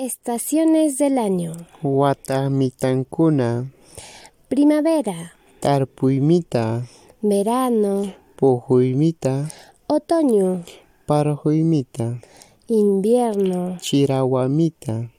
Estaciones del año. Huatamitancuna, Primavera, Tarpuimita, verano, Pujuimita, otoño, Parjuimita, invierno, Chirahuamita,